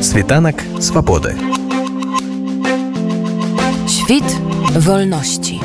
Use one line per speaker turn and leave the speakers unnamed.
Світанок свободи.
Świt wolności.